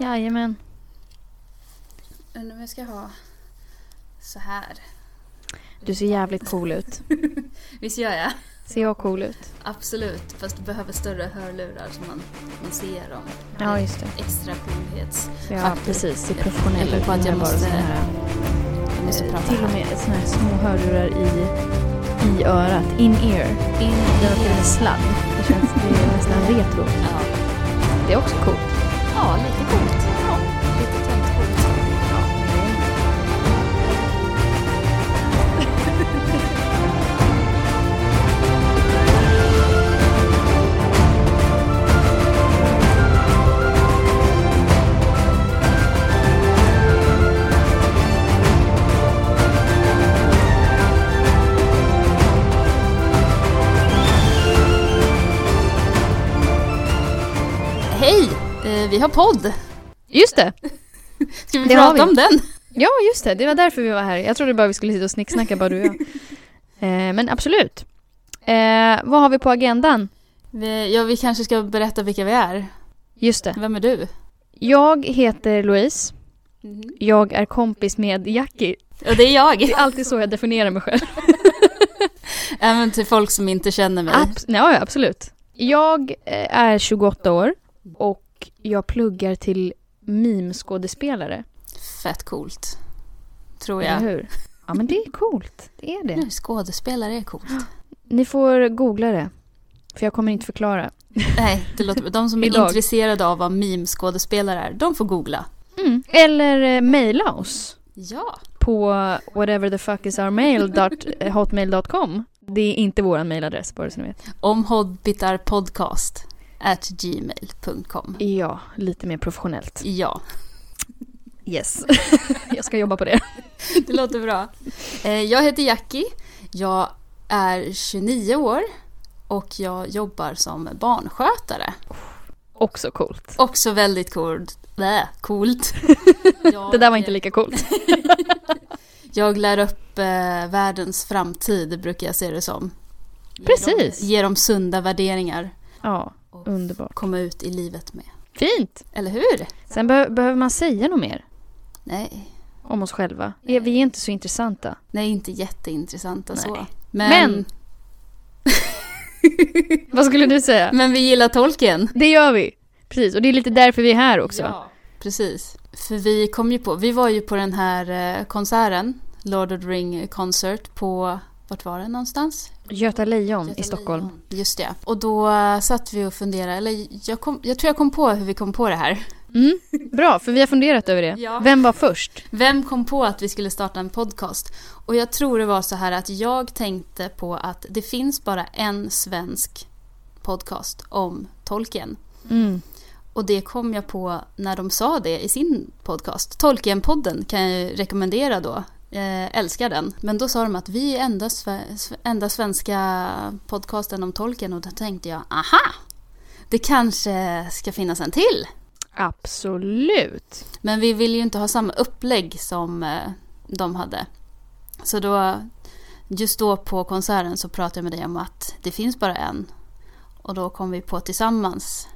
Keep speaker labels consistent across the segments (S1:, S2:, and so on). S1: Jajamän.
S2: Undrar om jag ska ha så här.
S1: Du ser jävligt cool ut.
S2: Visst gör jag?
S1: Ser jag cool ut?
S2: Absolut. Fast du behöver större hörlurar så man, man ser dem.
S1: Ja, just det.
S2: Extra coolhets...
S1: Ja,
S2: Faktiskt.
S1: precis. Ser professionell
S2: Jag
S1: ut.
S2: tror att jag
S1: Inte bara
S2: måste-
S1: sån här,
S2: Jag måste prata
S1: till och med såna här små hörlurar i, i örat. In ear.
S2: in i
S1: Den har till och med
S2: det.
S1: sladd. Det känns det är nästan retro.
S2: Ja.
S1: Det är också coolt.
S2: ja, lite coolt. Ja. Lite töntcoolt. Hej! Eh, vi har podd.
S1: Just det!
S2: Ska vi
S1: Det har
S2: prata
S1: vi.
S2: om den?
S1: Ja, just det. Det var därför vi var här. Jag trodde bara vi skulle sitta och snicksnacka, bara du och jag. Eh, men absolut. Eh, vad har vi på agendan?
S2: Vi, ja, vi kanske ska berätta vilka vi är.
S1: Just det.
S2: Vem är du?
S1: Jag heter Louise. Jag är kompis med Jackie.
S2: Och det är jag.
S1: Det är alltid så jag definierar mig själv.
S2: Även till folk som inte känner mig.
S1: Abs- ja, ja, absolut. Jag eh, är 28 år och jag pluggar till mimskådespelare.
S2: Fett coolt. Tror
S1: Eller
S2: jag.
S1: hur? Oh, Ja, men det är coolt. Det är det.
S2: Nu, skådespelare är coolt.
S1: Ni får googla det. För jag kommer inte förklara.
S2: Nej, det låter, de som är
S1: Idag.
S2: intresserade av vad meme-skådespelare är, de får googla.
S1: Mm. Eller eh, mejla oss.
S2: Ja.
S1: på whateverthefuckisourmail.hotmail.com. Det är inte vår mailadress, bara så ni vet.
S2: Om hobbitar podcast at gmail.com.
S1: Ja, lite mer professionellt.
S2: Ja,
S1: Yes. jag ska jobba på det.
S2: det låter bra. Eh, Jag heter Jackie. Jag är 29 år och jag jobbar som barnskötare.
S1: Också coolt.
S2: Också väldigt coolt. Nä, coolt. Jag,
S1: Det där var inte lika coolt.
S2: Jag lär upp eh, världens framtid, brukar jag se det som. Ge
S1: Precis.
S2: Dem, ge dem sunda värderingar
S1: Ja,
S2: och
S1: underbart.
S2: komma ut i livet med.
S1: Fint!
S2: Eller hur?
S1: Sen be- behöver man säga något mer
S2: Nej,
S1: om oss själva. Vi är inte så intressanta.
S2: nej inte jätteintressanta så.
S1: Nej.
S2: Men, men.
S1: Men- Vad skulle du säga?
S2: vi gillar tolken.
S1: Det gör vi! Precis, och det är lite därför vi är här också.
S2: Precis. För vi kom ju på, vi var ju på den här eh, konserten, Lord of the Ring Concert på, vart var det någonstans?
S1: Göta Lejon
S2: Göta
S1: i Stockholm.
S2: Lejon. Just det. Och då eh, satt vi och funderade, eller jag, kom, jag tror jag kom på hur vi kom på det här.
S1: Mm. Bra, för vi har funderat över det.
S2: Ja.
S1: Vem var först?
S2: Vem kom på att vi skulle starta en podcast? Och jag tror det var så här att jag tänkte på att det finns bara en svensk podcast om tolken.
S1: Mm.
S2: Och det kom jag på när de sa det i sin podcast. Tolkienpodden kan jag ju rekommendera då. Eh, älskar den. Men då sa de att vi är enda, sve, sve- enda svenska podcasten om tolken och då tänkte jag aha! Det kanske ska finnas en till.
S1: Absolut.
S2: Men vi ville ju inte ha samma upplägg som eh, de hade. Så då, just då på konserten så pratade jag med dig om att det finns bara en. Och då kom vi på tillsammans,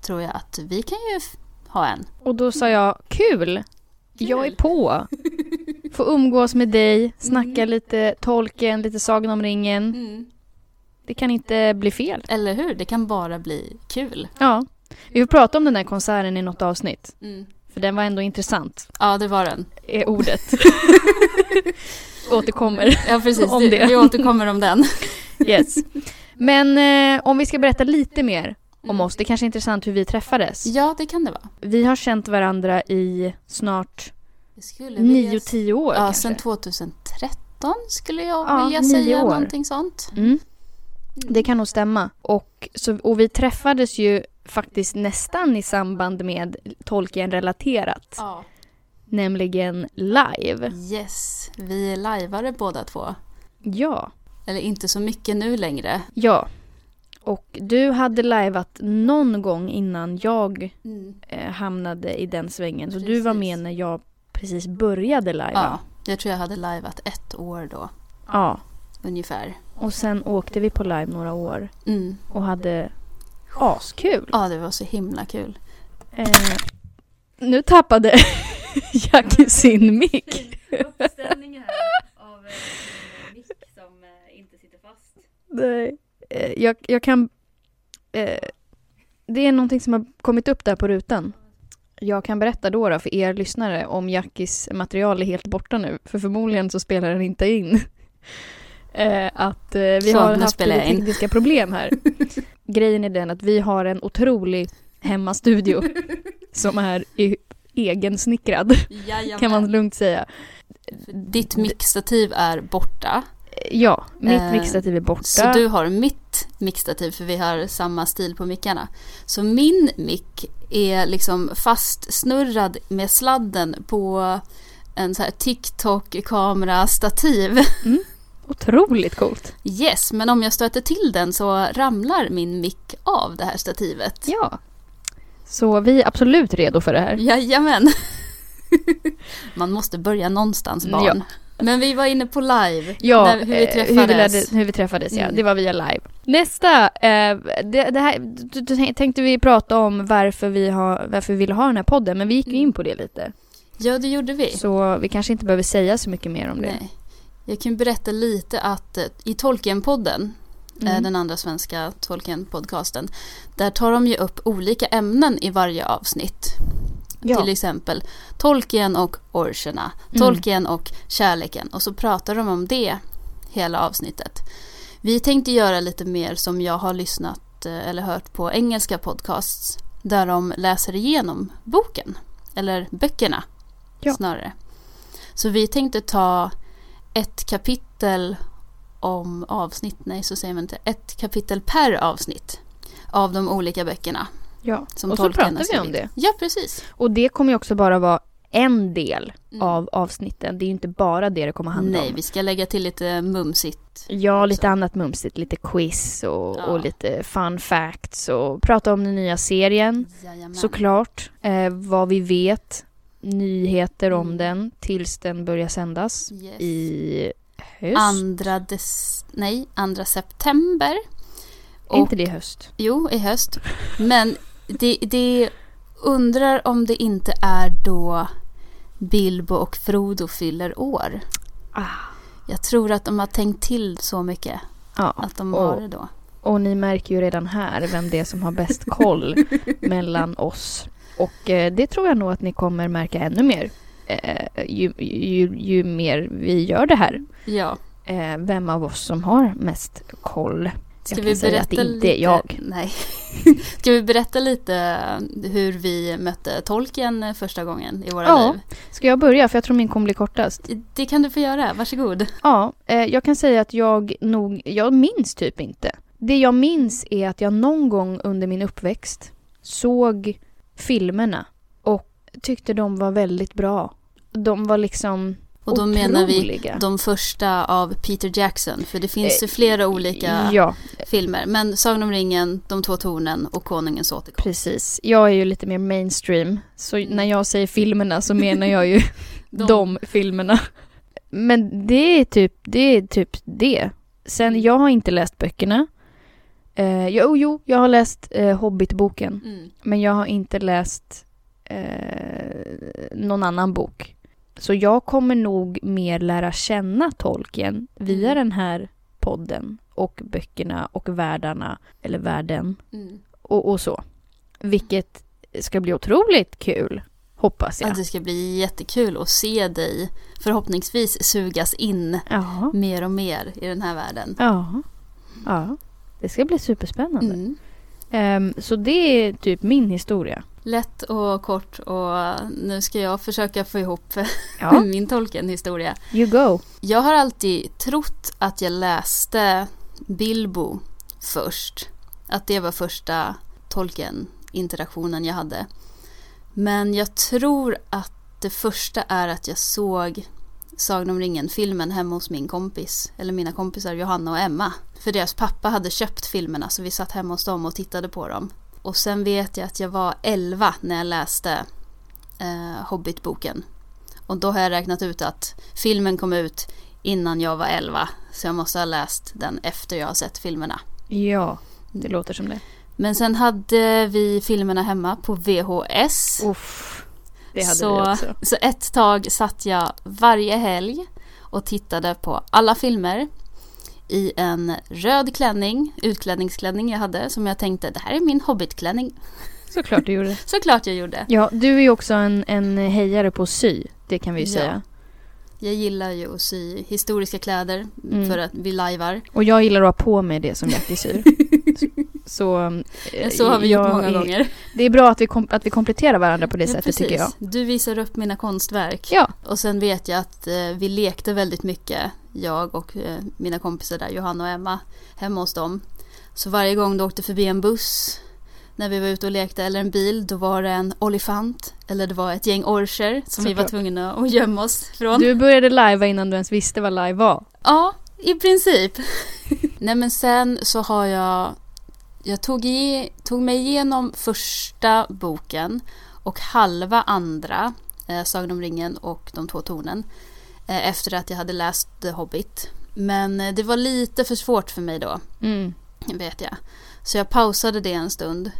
S2: tror jag, att vi kan ju f- ha en.
S1: Och då sa jag, kul! Jag är på! Få umgås med dig, snacka lite tolken, lite Sagan om ringen. Det kan inte bli fel.
S2: Eller hur? Det kan bara bli kul.
S1: Ja. Vi får prata om den där konserten i något avsnitt. För den var ändå intressant,
S2: Ja, det var den.
S1: är ordet. Återkommer.
S2: Ja, precis.
S1: Om
S2: Du-
S1: det.
S2: Vi återkommer om den.
S1: Yes. Men eh, om vi ska berätta lite mer
S2: Mm.
S1: om oss. Det kanske är intressant hur vi träffades.
S2: Ja, det kan det vara.
S1: Vi har känt varandra i snart
S2: Jag skulle vilja-
S1: 9-10 år
S2: Ja,
S1: kanske.
S2: sen 2013 skulle jag
S1: Ja,
S2: vilja
S1: nio
S2: säga
S1: år.
S2: någonting sånt.
S1: Mm. Det kan nog stämma. Och, så, och vi träffades ju faktiskt nästan i samband med Tolkien relaterat,
S2: Ja.
S1: nämligen live.
S2: Yes, vi är lajvare båda två.
S1: Ja,
S2: Eller inte så mycket nu längre.
S1: ja. Och du hade lajvat någon gång innan jag
S3: Mm.
S1: eh, hamnade i den svängen. Så du var
S2: Precis.
S1: med när jag precis började lajva.
S2: Ja, jag tror jag hade lajvat ett år då,
S1: ja.
S2: ungefär.
S1: Och sen åkte vi på live några år
S2: Mm.
S1: och hade askul.
S2: Ja, det var så himla kul.
S1: Eh, Nu tappade Jackie sin mick.
S3: uppställning här av eh, en mick som eh, inte sitter fast.
S1: Nej. Eh, Jag, jag kan... Eh, det är någonting som har kommit upp där på rutan. Jag kan berätta då, då för er lyssnare om Jackis material är helt borta nu. För förmodligen så spelar den inte in. Eh, att eh, vi
S2: Så,
S1: har
S2: nu
S1: haft
S2: spelar
S1: lite
S2: jag in.
S1: tekniska problem här. Grejen är den att vi har en otrolig hemmastudio som är i, egensnickrad, kan man lugnt säga.
S2: Ditt mixtativ är borta.
S1: Ja, mitt
S2: Eh,
S1: mixtativ är borta.
S2: Så du har mitt mixtativ för vi har samma stil på mickarna. Så min mick är liksom fastsnurrad med sladden på en så här TikTok-kamera-stativ.
S1: Otroligt coolt.
S2: Yes, men om jag stöter till den så ramlar min mick av det här stativet.
S1: Ja. Så vi är absolut redo för det
S2: Mm.
S1: här.
S2: Jajamän. Man måste börja någonstans
S1: Ja.
S2: barn. Men vi var inne på live.
S1: Ja,
S2: när, hur vi
S1: eh,
S2: träffades.
S1: hur vi, lärde, hur vi träffades ja.
S2: Mm.
S1: Det var via live. Nästa, eh, det, det här d- d- tänkte vi prata om varför vi, har, varför vi ville ha den här podden, men vi gick ju
S2: Mm.
S1: in på det lite.
S2: Ja, det gjorde vi.
S1: Så vi kanske inte behöver säga så mycket mer om det.
S2: Nej. Jag kan berätta lite att eh, i Tolkienpodden, eh,
S1: Mm.
S2: den andra svenska Tolkienpodcasten, där tar de ju upp olika ämnen i varje avsnitt.
S1: Ja.
S2: Till exempel Tolkien och orcherna,
S1: Mm.
S2: Tolkien och kärleken och så pratar de om det hela avsnittet. Vi tänkte göra lite mer som jag har lyssnat eh, eller hört på engelska podcasts där de läser igenom boken, eller böckerna
S1: Ja.
S2: snarare. Så vi tänkte ta ett kapitel om avsnitt, nej så säger man inte, ett kapitel per avsnitt av de olika böckerna.
S1: Ja.
S2: Som
S1: Och så
S2: Tolkien har
S1: pratar vi
S2: skrivit.
S1: om det.
S2: Ja, precis.
S1: Och det kommer ju också bara vara en del
S2: Mm.
S1: av avsnitten. Det är ju inte bara det det kommer handla
S2: Nej,
S1: om.
S2: vi ska lägga till lite mumsigt.
S1: Ja, lite annat mumsigt. Lite quiz och,
S2: Ja.
S1: och lite fun facts och prata om den nya serien.
S2: Jajamän.
S1: Mm. Såklart. Eh, vad vi vet, nyheter om
S2: Mm.
S1: den tills den börjar sändas
S2: Yes.
S1: i höst.
S2: andra, des- nej, andra september.
S1: Är inte det i höst?
S2: Jo, i höst. Men det, det undrar om det inte är då Bilbo och Frodo fyller år.
S1: Ah.
S2: Jag tror att de har tänkt till så mycket
S1: Ja.
S2: att de
S1: Åh.
S2: har det då.
S1: Och ni märker ju redan här vem det är som har bäst koll mellan oss. Och eh, det tror jag nog att ni kommer märka ännu mer eh, ju, ju, ju mer vi gör det här.
S2: Ja.
S1: Eh, vem av oss som har mest koll.
S2: Ska
S1: Jag
S2: vi
S1: kan säga
S2: berätta
S1: att det inte är
S2: lite...
S1: jag.
S2: Nej. Ska vi berätta lite hur vi mötte tolken första gången i våra
S1: Ja.
S2: liv?
S1: Ska jag börja? För jag tror min kommer bli kortast.
S2: Det kan du få göra, varsågod.
S1: Ja, eh, jag kan säga att jag nog, jag minns typ inte. Det jag minns är att jag någon gång under min uppväxt såg filmerna och tyckte de var väldigt bra. De var liksom
S2: Och då
S1: otroliga.
S2: menar vi de första av Peter Jackson, för det finns ju flera olika
S1: Ja,
S2: filmer. Men Sagan om ringen, De två tornen och Konungens återkomst.
S1: precis. Jag är ju lite mer mainstream, så
S2: Mm.
S1: när jag säger filmerna så menar jag ju de. filmerna. Men det är typ det. Är typ det.
S2: Mm.
S1: Sen, jag har inte läst böckerna. Eh, jo, jo, jag har läst eh, Hobbit-boken.
S2: Mm.
S1: Men jag har inte läst eh, någon annan bok. Så jag kommer nog mer lära känna Tolkien via
S2: Mm.
S1: den här podden och böckerna och världarna, eller världen
S2: Mm.
S1: och, och så. Vilket ska bli otroligt kul, hoppas
S2: Att
S1: jag.
S2: det ska bli jättekul att se dig förhoppningsvis sugas in
S1: Ja.
S2: mer och mer i den här världen.
S1: Ja. ja. Det ska bli superspännande.
S2: Mm.
S1: Ehm, så det är typ min historia.
S2: Lätt och kort och nu ska jag försöka få ihop
S1: Ja,
S2: min Tolkien-historia.
S1: Mm. you go.
S2: Jag har alltid trott att jag läste Bilbo först. Att det var första Tolkien-interaktionen jag hade. Men jag tror att det första är att jag såg Sagan om ringen-filmen hemma hos min kompis, eller mina kompisar Johanna och Emma. För deras pappa hade köpt filmerna så vi satt hemma hos dem och tittade på dem. Och sen vet jag att jag var 11 när jag läste eh, Hobbit-boken. Och då har jag räknat ut att filmen kom ut innan jag var 11. Så jag måste ha läst den efter jag har sett filmerna.
S1: Ja, det låter som det.
S2: Men sen hade vi filmerna hemma på VHS.
S1: Uff. Det hade
S2: så,
S1: vi också.
S2: så ett tag satt jag varje helg och tittade på alla filmer i en röd klänning, utklädningsklänning jag hade, som jag tänkte det här är min hobbitklänning.
S1: Såklart du gjorde.
S2: Såklart jag gjorde.
S1: Ja, du är ju också en, en hejare på sy. Det kan vi ju
S2: Ja.
S1: säga.
S2: Jag gillar ju att sy historiska kläder
S1: Mm.
S2: för att vi lajvar.
S1: Och jag gillar att ha på mig det som Jackie syr. Så- Så, eh,
S2: Så har vi
S1: jag
S2: gjort många
S1: är-
S2: gånger.
S1: Det är bra att vi, kom, att vi kompletterar varandra på det sättet tycker jag.
S2: Du visar upp mina konstverk.
S1: Ja,
S2: Och sen vet jag att eh, vi lekte väldigt mycket, jag och eh, mina kompisar där, Johanna och Emma, hemma hos dem. Så varje gång det åkte förbi en buss när vi var ute och lekte eller en bil, då var det en olifant eller det var ett gäng orcher som vi var
S1: Såklart.
S2: tvungna att gömma oss från.
S1: du började lajva innan du ens visste vad live var.
S2: Ja, i princip. Nej men sen så har jag, jag tog, i, tog mig igenom första boken och halva andra, eh, Sagan om ringen och De två tornen, eh, efter att jag hade läst The Hobbit. Men eh, det var lite för svårt för mig då
S1: Mm.
S2: vet jag. Så jag pausade det en stund.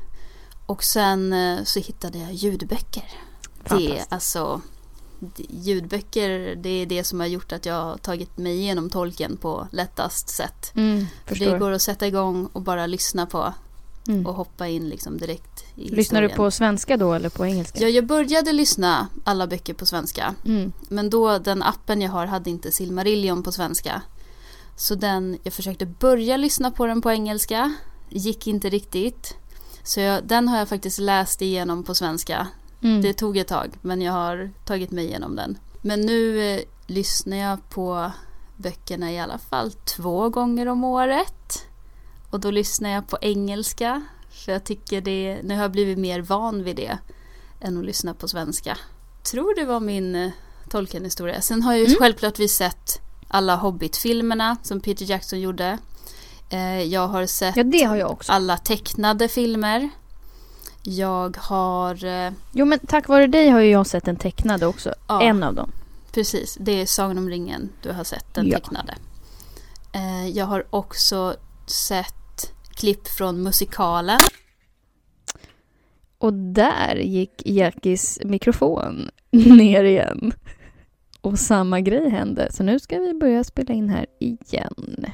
S2: Och sen eh, så hittade jag ljudböcker. Det är
S1: Fantastiskt.
S2: alltså det- ljudböcker, det är det som har gjort att jag har tagit mig igenom tolken på lättast sätt.
S1: Mm,
S2: För det
S1: förstår.
S2: går att sätta igång och bara lyssna på
S1: Mm.
S2: och hoppa in liksom direkt i
S1: Lyssnar du
S2: historien.
S1: på svenska då eller på engelska?
S2: Ja, jag började lyssna alla böcker på svenska.
S1: Mm.
S2: Men då, den appen jag har hade inte Silmarillion på svenska. Så den, jag försökte börja lyssna på den på engelska. Gick inte riktigt. Så jag, den har jag faktiskt läst igenom på svenska.
S1: Mm.
S2: Det tog ett tag, men jag har tagit mig igenom den. Men nu eh, lyssnar jag på böckerna i alla fall två gånger om året. Och då lyssnar jag på engelska. För jag tycker det, nu har jag blivit mer van vid det än att lyssna på svenska. Tror det var min eh, Tolkien-historia. Sen har jag ju
S1: Mm.
S2: självklart sett alla Hobbit-filmerna som Peter Jackson gjorde. Eh, Jag har sett
S1: ja, det har jag också.
S2: alla tecknade filmer. Jag har eh,
S1: Jo, men tack vare dig har ju jag sett en tecknad också.
S2: ja,
S1: En av dem.
S2: Precis, det är Sagan om ringen du har sett, den
S1: Ja.
S2: tecknade. Eh, jag har också sett klipp från musikalen.
S1: Och där gick Jackis mikrofon ner igen. Och samma grej hände. Så nu ska vi börja spela in här igen.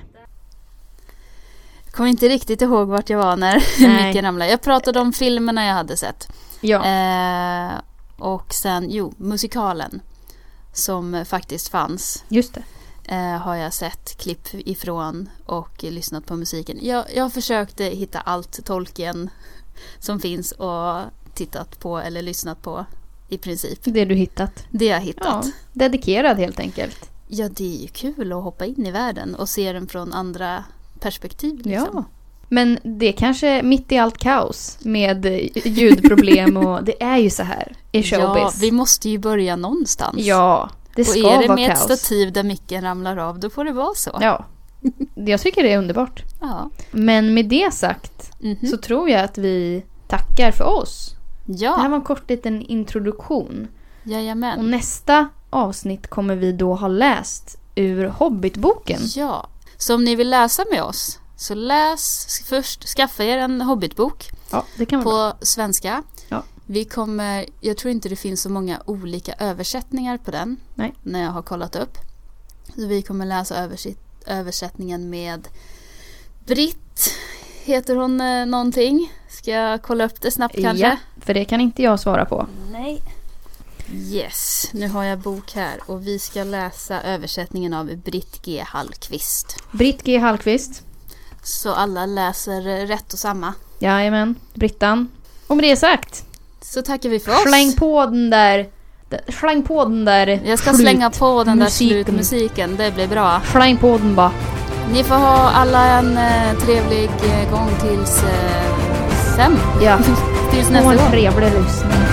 S2: Jag kommer inte riktigt ihåg vart jag var när
S1: Nej.
S2: micken ramlade. Jag pratade om filmerna jag hade sett.
S1: Ja,
S2: Eh, och sen, jo, musikalen som faktiskt fanns
S1: just det.
S2: eh, har jag sett klipp ifrån och lyssnat på musiken. Jag, jag försökte hitta allt Tolkien som finns och tittat på eller lyssnat på i princip.
S1: Det du hittat.
S2: Det jag hittat. Ja.
S1: dedikerad helt enkelt.
S2: det är ju kul att hoppa in i världen och se den från andra perspektiv. Liksom.
S1: Ja. Men det kanske mitt i allt kaos med ljudproblem och det är ju så här i
S2: ja,
S1: showbiz.
S2: vi måste ju börja någonstans.
S1: Ja, det
S2: och
S1: ska
S2: är det
S1: vara
S2: med ett
S1: kaos.
S2: stativ där micken ramlar av, då får det vara så.
S1: Ja, jag tycker det är underbart.
S2: Ja.
S1: Men med det sagt
S2: Mhm.
S1: så tror jag att vi tackar för oss. Det här
S2: ja. Mm.
S1: var en kort liten introduktion. Och
S2: jajamän.
S1: nästa avsnitt kommer vi då ha läst ur Hobbitboken.
S2: Ja. Så om ni vill läsa med oss, så läs först, skaffa er en hobbitbok
S1: Ja, det kan vara bra.
S2: på svenska.
S1: Ja.
S2: Vi kommer, jag tror inte det finns så många olika översättningar på den.
S1: Nej.
S2: När jag har kollat upp. Så vi kommer läsa översitt, översättningen med Britt. Heter hon eh, någonting? Ska jag kolla upp det snabbt kanske?
S1: Ja, för det kan inte jag svara på.
S2: Nej. Yes, nu har jag bok här och vi ska läsa översättningen av Britt G Hallqvist.
S1: Britt G Hallqvist.
S2: Så alla läser eh, rätt och samma.
S1: Jajamän, Brittan. Och med det sagt,
S2: Så tackar vi för oss.
S1: släng på den där... d- Släng på den där...
S2: Jag ska
S1: slut.
S2: slänga på den där
S1: Musiken.
S2: slutmusiken, det blir bra.
S1: Släng på den bara.
S2: Ni får ha alla en eh, trevlig eh, gång tills eh, sen.
S1: Ja.
S2: tills
S1: Ha
S2: nästa
S1: en
S2: gång.
S1: trevlig lyssning.